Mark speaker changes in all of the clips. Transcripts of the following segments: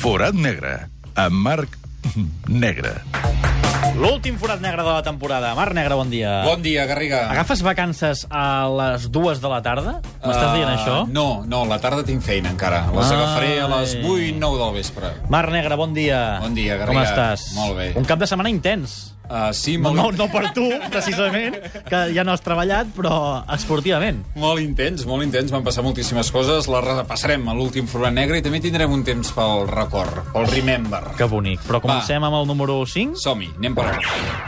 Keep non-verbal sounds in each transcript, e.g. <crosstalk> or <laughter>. Speaker 1: Forat negre, amb Marc Negre.
Speaker 2: L'últim forat negre de la temporada. Marc Negre, bon dia.
Speaker 3: Bon dia, Garriga.
Speaker 2: Agafes vacances a les dues de la tarda? M'estàs
Speaker 3: Ah,
Speaker 2: dient això?
Speaker 3: No, no, la tarda tinc feina encara. Les
Speaker 2: Ai.
Speaker 3: agafaré a les 8, 9 del vespre.
Speaker 2: Marc Negre, bon dia.
Speaker 3: Bon dia, Garriga.
Speaker 2: Com estàs?
Speaker 3: Molt bé.
Speaker 2: Un cap de setmana intens.
Speaker 3: Uh, sí,
Speaker 2: No,
Speaker 3: molt,
Speaker 2: no, no per
Speaker 3: <laughs>
Speaker 2: tu, precisament, que ja no has treballat, però esportivament.
Speaker 3: molt intens, molt intens. Van passar moltíssimes coses. Les repassarem a l'últim forat negre i també tindrem un temps pel record, pel remember.
Speaker 2: Que bonic. Però comencem amb el número 5.
Speaker 3: Som-hi, anem per allà.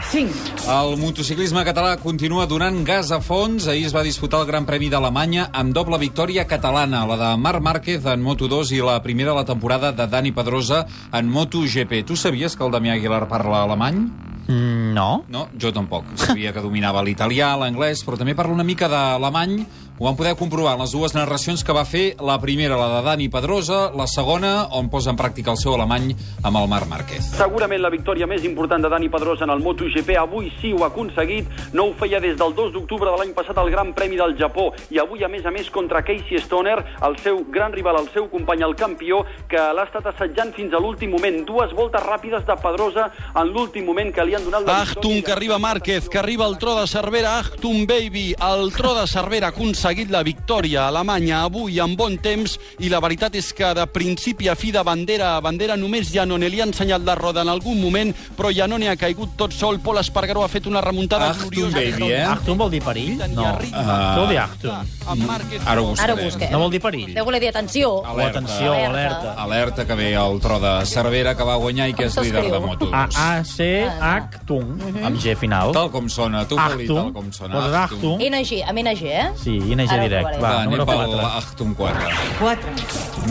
Speaker 4: 5,
Speaker 3: El motociclisme català continua donant gas a fons. Ahir es va disputar el Gran Premi d'Alemanya amb doble victòria catalana, la de Marc Márquez en Moto2 i la primera de la temporada de Dani Pedrosa en MotoGP. Tu sabies que el Damià Aguilar parla alemany?
Speaker 2: Mm, No?
Speaker 3: No, jo tampoc. Sabia que dominava l'italià, l'anglès, però també parla una mica d'alemany. Ho van poder comprovar en les dues narracions que va fer, la primera, la de Dani Pedrosa, la segona, on posa en pràctica el seu alemany amb el Marc Márquez.
Speaker 5: Segurament la victòria més important de Dani Pedrós en el MotoGP avui sí ho ha aconseguit. No ho feia des del 2 d'octubre de l'any passat al Gran Premi del Japó i avui, a més a més, contra Casey Stoner, el seu gran rival, el seu company, el campió, que l'ha estat assetjant fins a l'últim moment. Dues voltes ràpides de Pedrosa en l'últim moment que li han donat la
Speaker 6: Achtung, que arriba Márquez, que arriba el tro de Cervera, Achtung, baby. El tro de Cervera ha aconseguit la victòria a Alemanya avui amb bon temps i la veritat és que de principi a fi de bandera a bandera només Janone li ha ensenyat la roda en algun moment, però Janone ha caigut tot sol. Pol Espargaró ha fet una remuntada
Speaker 3: Achtung,
Speaker 6: gloriosa.
Speaker 3: baby, eh? Ah.
Speaker 2: Achtung vol dir perill? No. Què vol dir Achtung?
Speaker 6: Amb Márquez...
Speaker 3: Ara ho
Speaker 4: ara ho
Speaker 3: buscarem.
Speaker 4: busquem.
Speaker 2: No vol dir perill.
Speaker 4: Deu voler dir atenció.
Speaker 2: O atenció, alerta.
Speaker 4: Alerta.
Speaker 3: Alerta que ve el tro de Cervera que va guanyar i que és
Speaker 4: Com
Speaker 3: líder de
Speaker 4: s'escriu?
Speaker 3: moto.
Speaker 2: Ah,
Speaker 4: Ah.
Speaker 2: A-A-C-H-Tung,
Speaker 4: Mhm.
Speaker 2: amb G final.
Speaker 3: Ah. Tal com sona, tu Poli, tal
Speaker 2: Achtung,
Speaker 3: com sona.
Speaker 2: poses Achtung.
Speaker 4: NG, amb NG, eh?
Speaker 2: Sí, ING
Speaker 4: Ara ho
Speaker 2: direct.
Speaker 4: provaré.
Speaker 2: Va,
Speaker 3: Va, anem
Speaker 2: número
Speaker 3: pel
Speaker 2: 4.
Speaker 3: Achtung 4.
Speaker 7: 4,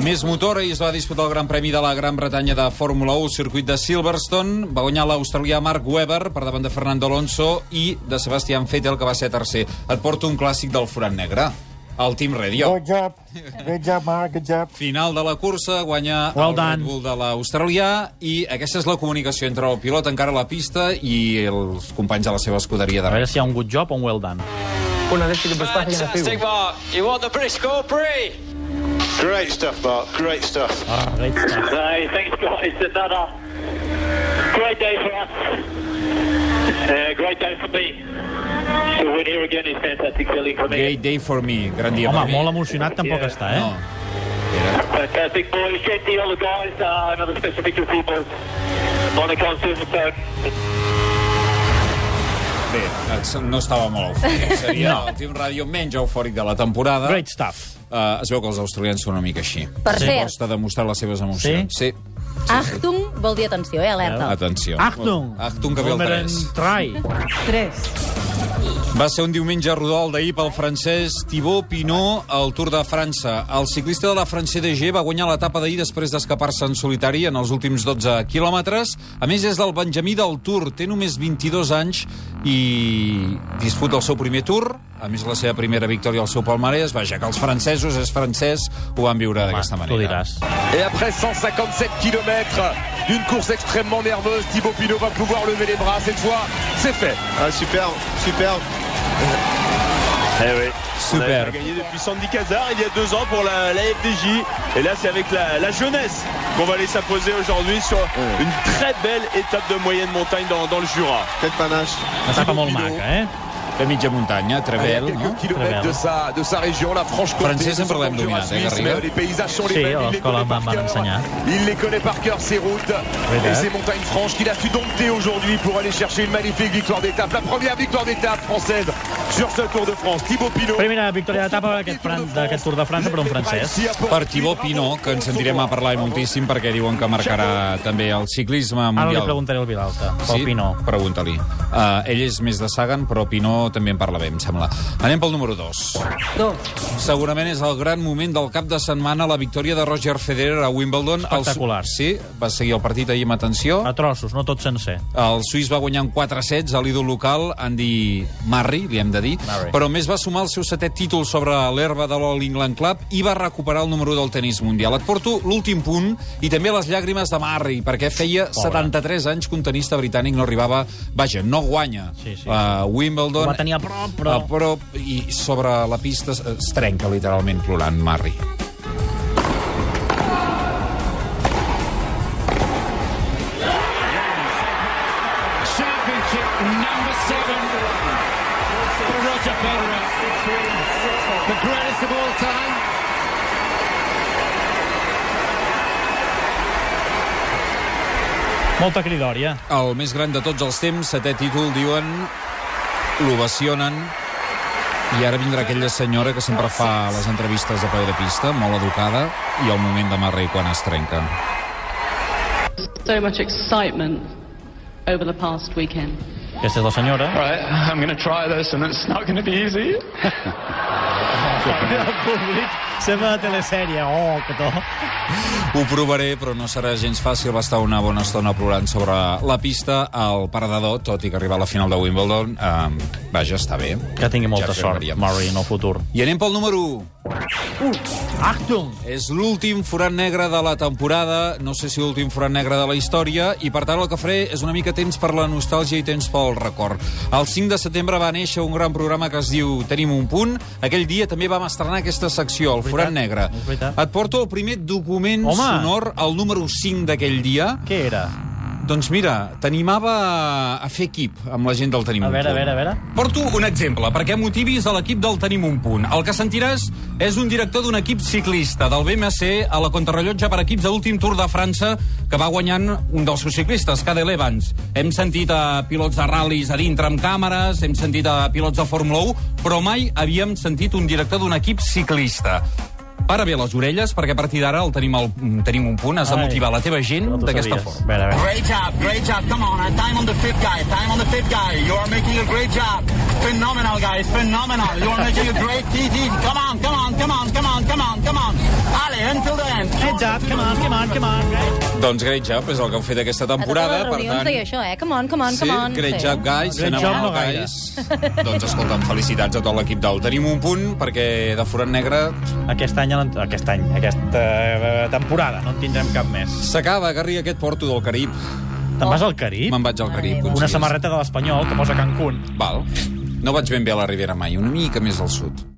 Speaker 3: Més motor, ahir es va disputar el Gran Premi de la Gran Bretanya de Fórmula 1, circuit de Silverstone. Va guanyar l'australià Mark Webber per davant de Fernando Alonso i de Sebastian Vettel, que va ser tercer. Et porto un clàssic del forat negre, el Team Radio.
Speaker 8: Good job. Good job, Mark. Good job.
Speaker 3: Final de la cursa, guanya
Speaker 2: Well
Speaker 3: el
Speaker 2: done.
Speaker 3: Red Bull de l'australià i aquesta és la comunicació entre el pilot encara a la pista i els companys de la seva escuderia
Speaker 2: A
Speaker 3: darrere.
Speaker 2: veure si hi ha un good job o un well done.
Speaker 9: Fantastic, Mark. You won the British Grand Prix.
Speaker 10: Great stuff, Mark. Great stuff.
Speaker 2: Ah, great stuff.
Speaker 9: Hey, thanks, guys. Another great day for us. Uh, great day for me. To win here again is fantastic feeling for me.
Speaker 3: Great day for me, gran dia
Speaker 2: Home,
Speaker 3: per mi.
Speaker 2: molt emocionat tampoc està, eh?
Speaker 3: No.
Speaker 9: Fantastic, boys. Great to all the guys. Uh, another special victory for you, boys. Monaco, Silverstone.
Speaker 3: Bé, no estava molt
Speaker 2: <laughs>
Speaker 3: eufòric. Seria no. el Team Radio menys eufòric de la temporada.
Speaker 2: Great stuff.
Speaker 3: Uh, es veu que els australians són una mica així.
Speaker 4: Per
Speaker 2: Sí,
Speaker 4: cert,
Speaker 3: Costa demostrar les seves emocions. Sí? sí.
Speaker 4: Achtung vol dir atenció, eh?
Speaker 2: Ah.
Speaker 4: Alerta.
Speaker 3: Atenció.
Speaker 2: Achtung!
Speaker 3: Achtung, que ve el
Speaker 2: Boomerang
Speaker 3: 3.
Speaker 2: Try.
Speaker 7: 3,
Speaker 3: Va ser un diumenge rodol d'ahir pel francès Thibaut Pinot al Tour de França. El ciclista de la FranceDG va guanyar l'etapa d'ahir després d'escapar-se en solitari en els últims 12 quilòmetres. A més, és del Benjamí del Tour. Té només 22 anys i disputa el seu primer Tour. A més, la seva primera victòria al seu palmarès. Vaja, que els francesos, és francès, ho van viure d'aquesta
Speaker 2: Tu
Speaker 3: manera.
Speaker 2: diràs.
Speaker 10: Et après 157 km d'une course extrêmement nerveuse, Thibaut Pinot va pouvoir lever les bras. Cette fois, c'est fait. Ah, superbe, superbe. Eh oui.
Speaker 3: Superbe.
Speaker 10: gagné depuis Sandy Cazard il y a deux ans pour la, la FDJ. Et là, c'est avec la, la jeunesse qu'on va aller s'imposer aujourd'hui sur une très belle étape de moyenne montagne dans, dans le Jura. Quelle panache.
Speaker 2: Etapa molt maca, eh?
Speaker 3: De mitja muntanya, Travel, no?
Speaker 2: Très
Speaker 10: kilomètres
Speaker 2: bien.
Speaker 10: de sa, de sa région, la Franche-Comté.
Speaker 3: Francès, sempre l'hem
Speaker 2: hein,
Speaker 3: dominat, eh, Garriga?
Speaker 10: Les paysages sont
Speaker 2: Sí,
Speaker 10: les mêmes,
Speaker 2: a
Speaker 10: il les
Speaker 2: l'escola
Speaker 10: connaît
Speaker 2: em
Speaker 10: par
Speaker 2: van
Speaker 10: cœur.
Speaker 2: ensenyar.
Speaker 10: Il les connaît par cœur, ces routes
Speaker 2: eh?
Speaker 10: et ces montagnes franches qu'il a su dompter aujourd'hui pour aller chercher une magnifique victoire d'étape. La première victoire d'étape française sur ce Tour de France. Thibaut Pinot.
Speaker 2: Primera victòria d'etapa d'aquest Fran- d'aquest Tour de França per un francès.
Speaker 3: per Thibaut Pinot, que en sentirem a parlar moltíssim perquè diuen que marcarà també el ciclisme mundial.
Speaker 2: Ara li preguntaré al Vilalta. Sí?
Speaker 3: Sí?
Speaker 2: Pinó.
Speaker 3: Pregunta-li. Uh, ell és més de Sagan, però Pinot també en parla bé, em sembla. Anem pel número 2.
Speaker 7: 2,
Speaker 3: Segurament és el gran moment del cap de setmana la victòria de Roger Federer a Wimbledon. El su-
Speaker 2: Espectacular.
Speaker 3: Sí, va seguir el partit ahir amb atenció.
Speaker 2: A trossos, no tot sencer.
Speaker 3: El suís va guanyar en 4 sets a l'ídol local, Andy Murray, li hem de dir,
Speaker 2: Murray.
Speaker 3: però més va sumar el seu setè títol sobre l'herba de l'All England Club i va recuperar el número u del tennis mundial. Et porto l'últim punt i també les llàgrimes de Murray, perquè feia 73 anys que un tenista britànic no arribava... Vaja, no guanya
Speaker 2: Sí, sí.
Speaker 3: a Wimbledon.
Speaker 2: Ho va tenir a prop, però-
Speaker 3: A prop, i sobre la pista es- es trenca literalment plorant Murray.
Speaker 9: championship number seven for Roger Federer, the greatest of all time.
Speaker 2: Molta cridòria.
Speaker 3: El més gran de tots els temps, setè títol, diuen, l'ovacionen, i ara vindrà aquella senyora que sempre fa les entrevistes de peu de pista, molt educada, i el moment de Murray quan es trenca.
Speaker 7: so much excitement over the past weekend.
Speaker 2: Aquesta és la senyora.
Speaker 9: Right, I'm going to try this, and it's not going to be easy.
Speaker 2: <laughs> El públic sembla de telesèrie. Oh, que to.
Speaker 3: Ho provaré, però no serà gens fàcil. Va estar una bona estona plorant sobre la pista al paradador, tot i que arribar a la final de Wimbledon, eh, vaja, està bé.
Speaker 2: Que tingui molta
Speaker 3: Ja
Speaker 2: sort,
Speaker 3: veríem.
Speaker 2: Murray, en el futur.
Speaker 3: I anem pel número 1.
Speaker 2: Achtung!
Speaker 3: És l'últim forat negre de la temporada, no sé si l'últim forat negre de la història, i per tant el que faré és una mica temps per la nostàlgia i temps pel record. El 5 de setembre va néixer un gran programa que es diu Tenim un punt. Aquell dia també vam estrenar aquesta secció, el forat negre.
Speaker 2: és veritat.
Speaker 3: Et porto el primer document
Speaker 2: Home!
Speaker 3: sonor, el número 5 d'aquell dia.
Speaker 2: Què era?
Speaker 3: Doncs mira, t'animava a fer equip amb la gent del Tenim
Speaker 2: A
Speaker 3: un
Speaker 2: veure, a
Speaker 3: punt.
Speaker 2: veure, a veure.
Speaker 11: Porto un exemple perquè motivis a l'equip del Tenim un punt. El que sentiràs és un director d'un equip ciclista del BMC a la contrarrellotge per equips de l'últim Tour de França que va guanyant un dels seus ciclistes, Cadel Evans. Hem sentit a pilots de ral·lis a dintre amb càmeres, hem sentit a pilots de Fórmula 1, però mai havíem sentit un director d'un equip ciclista. Para bé les orelles, perquè a partir d'ara el tenim, el, tenim un punt, has de
Speaker 2: Ai.
Speaker 11: motivar la teva gent
Speaker 2: No t'ho
Speaker 11: d'aquesta
Speaker 2: sabies.
Speaker 11: forma.
Speaker 2: A veure, a veure.
Speaker 9: Great job, great job. Come on, uh, time on the fifth guy, time on the fifth guy. You are making a great job. Phenomenal, guys, phenomenal. You are making a great TT. Come on, come on, come on, come on, come on, come on. Allez, until the end.
Speaker 2: Heads up, come on, come on, come on.
Speaker 3: Doncs Great Job és el que heu fet aquesta
Speaker 4: A totes
Speaker 3: temporada.
Speaker 4: les reunions
Speaker 3: per tant...
Speaker 4: deia això, eh? Come on, come on,
Speaker 3: Sí,
Speaker 4: come on.
Speaker 3: great
Speaker 4: Sí.
Speaker 3: job, guys.
Speaker 2: Great job,
Speaker 3: Phenomenal,
Speaker 2: no gaire.
Speaker 3: guys. <laughs> doncs, escolta'm, felicitats a tot l'equip del Tenim un punt, perquè de forat negre
Speaker 2: Aquest any, a l'ent- aquest any, aquesta eh, temporada, no en tindrem cap més.
Speaker 3: s'acaba, Garri, aquest porto del Carib.
Speaker 2: Te'n vas al Carib?
Speaker 3: Me'n vaig al Carib.
Speaker 4: Ai,
Speaker 3: uns
Speaker 2: Una
Speaker 3: dies.
Speaker 2: samarreta de l'Espanyol que posa Cancún.
Speaker 3: Val. No vaig ben bé a la Ribera mai, una mica més al sud.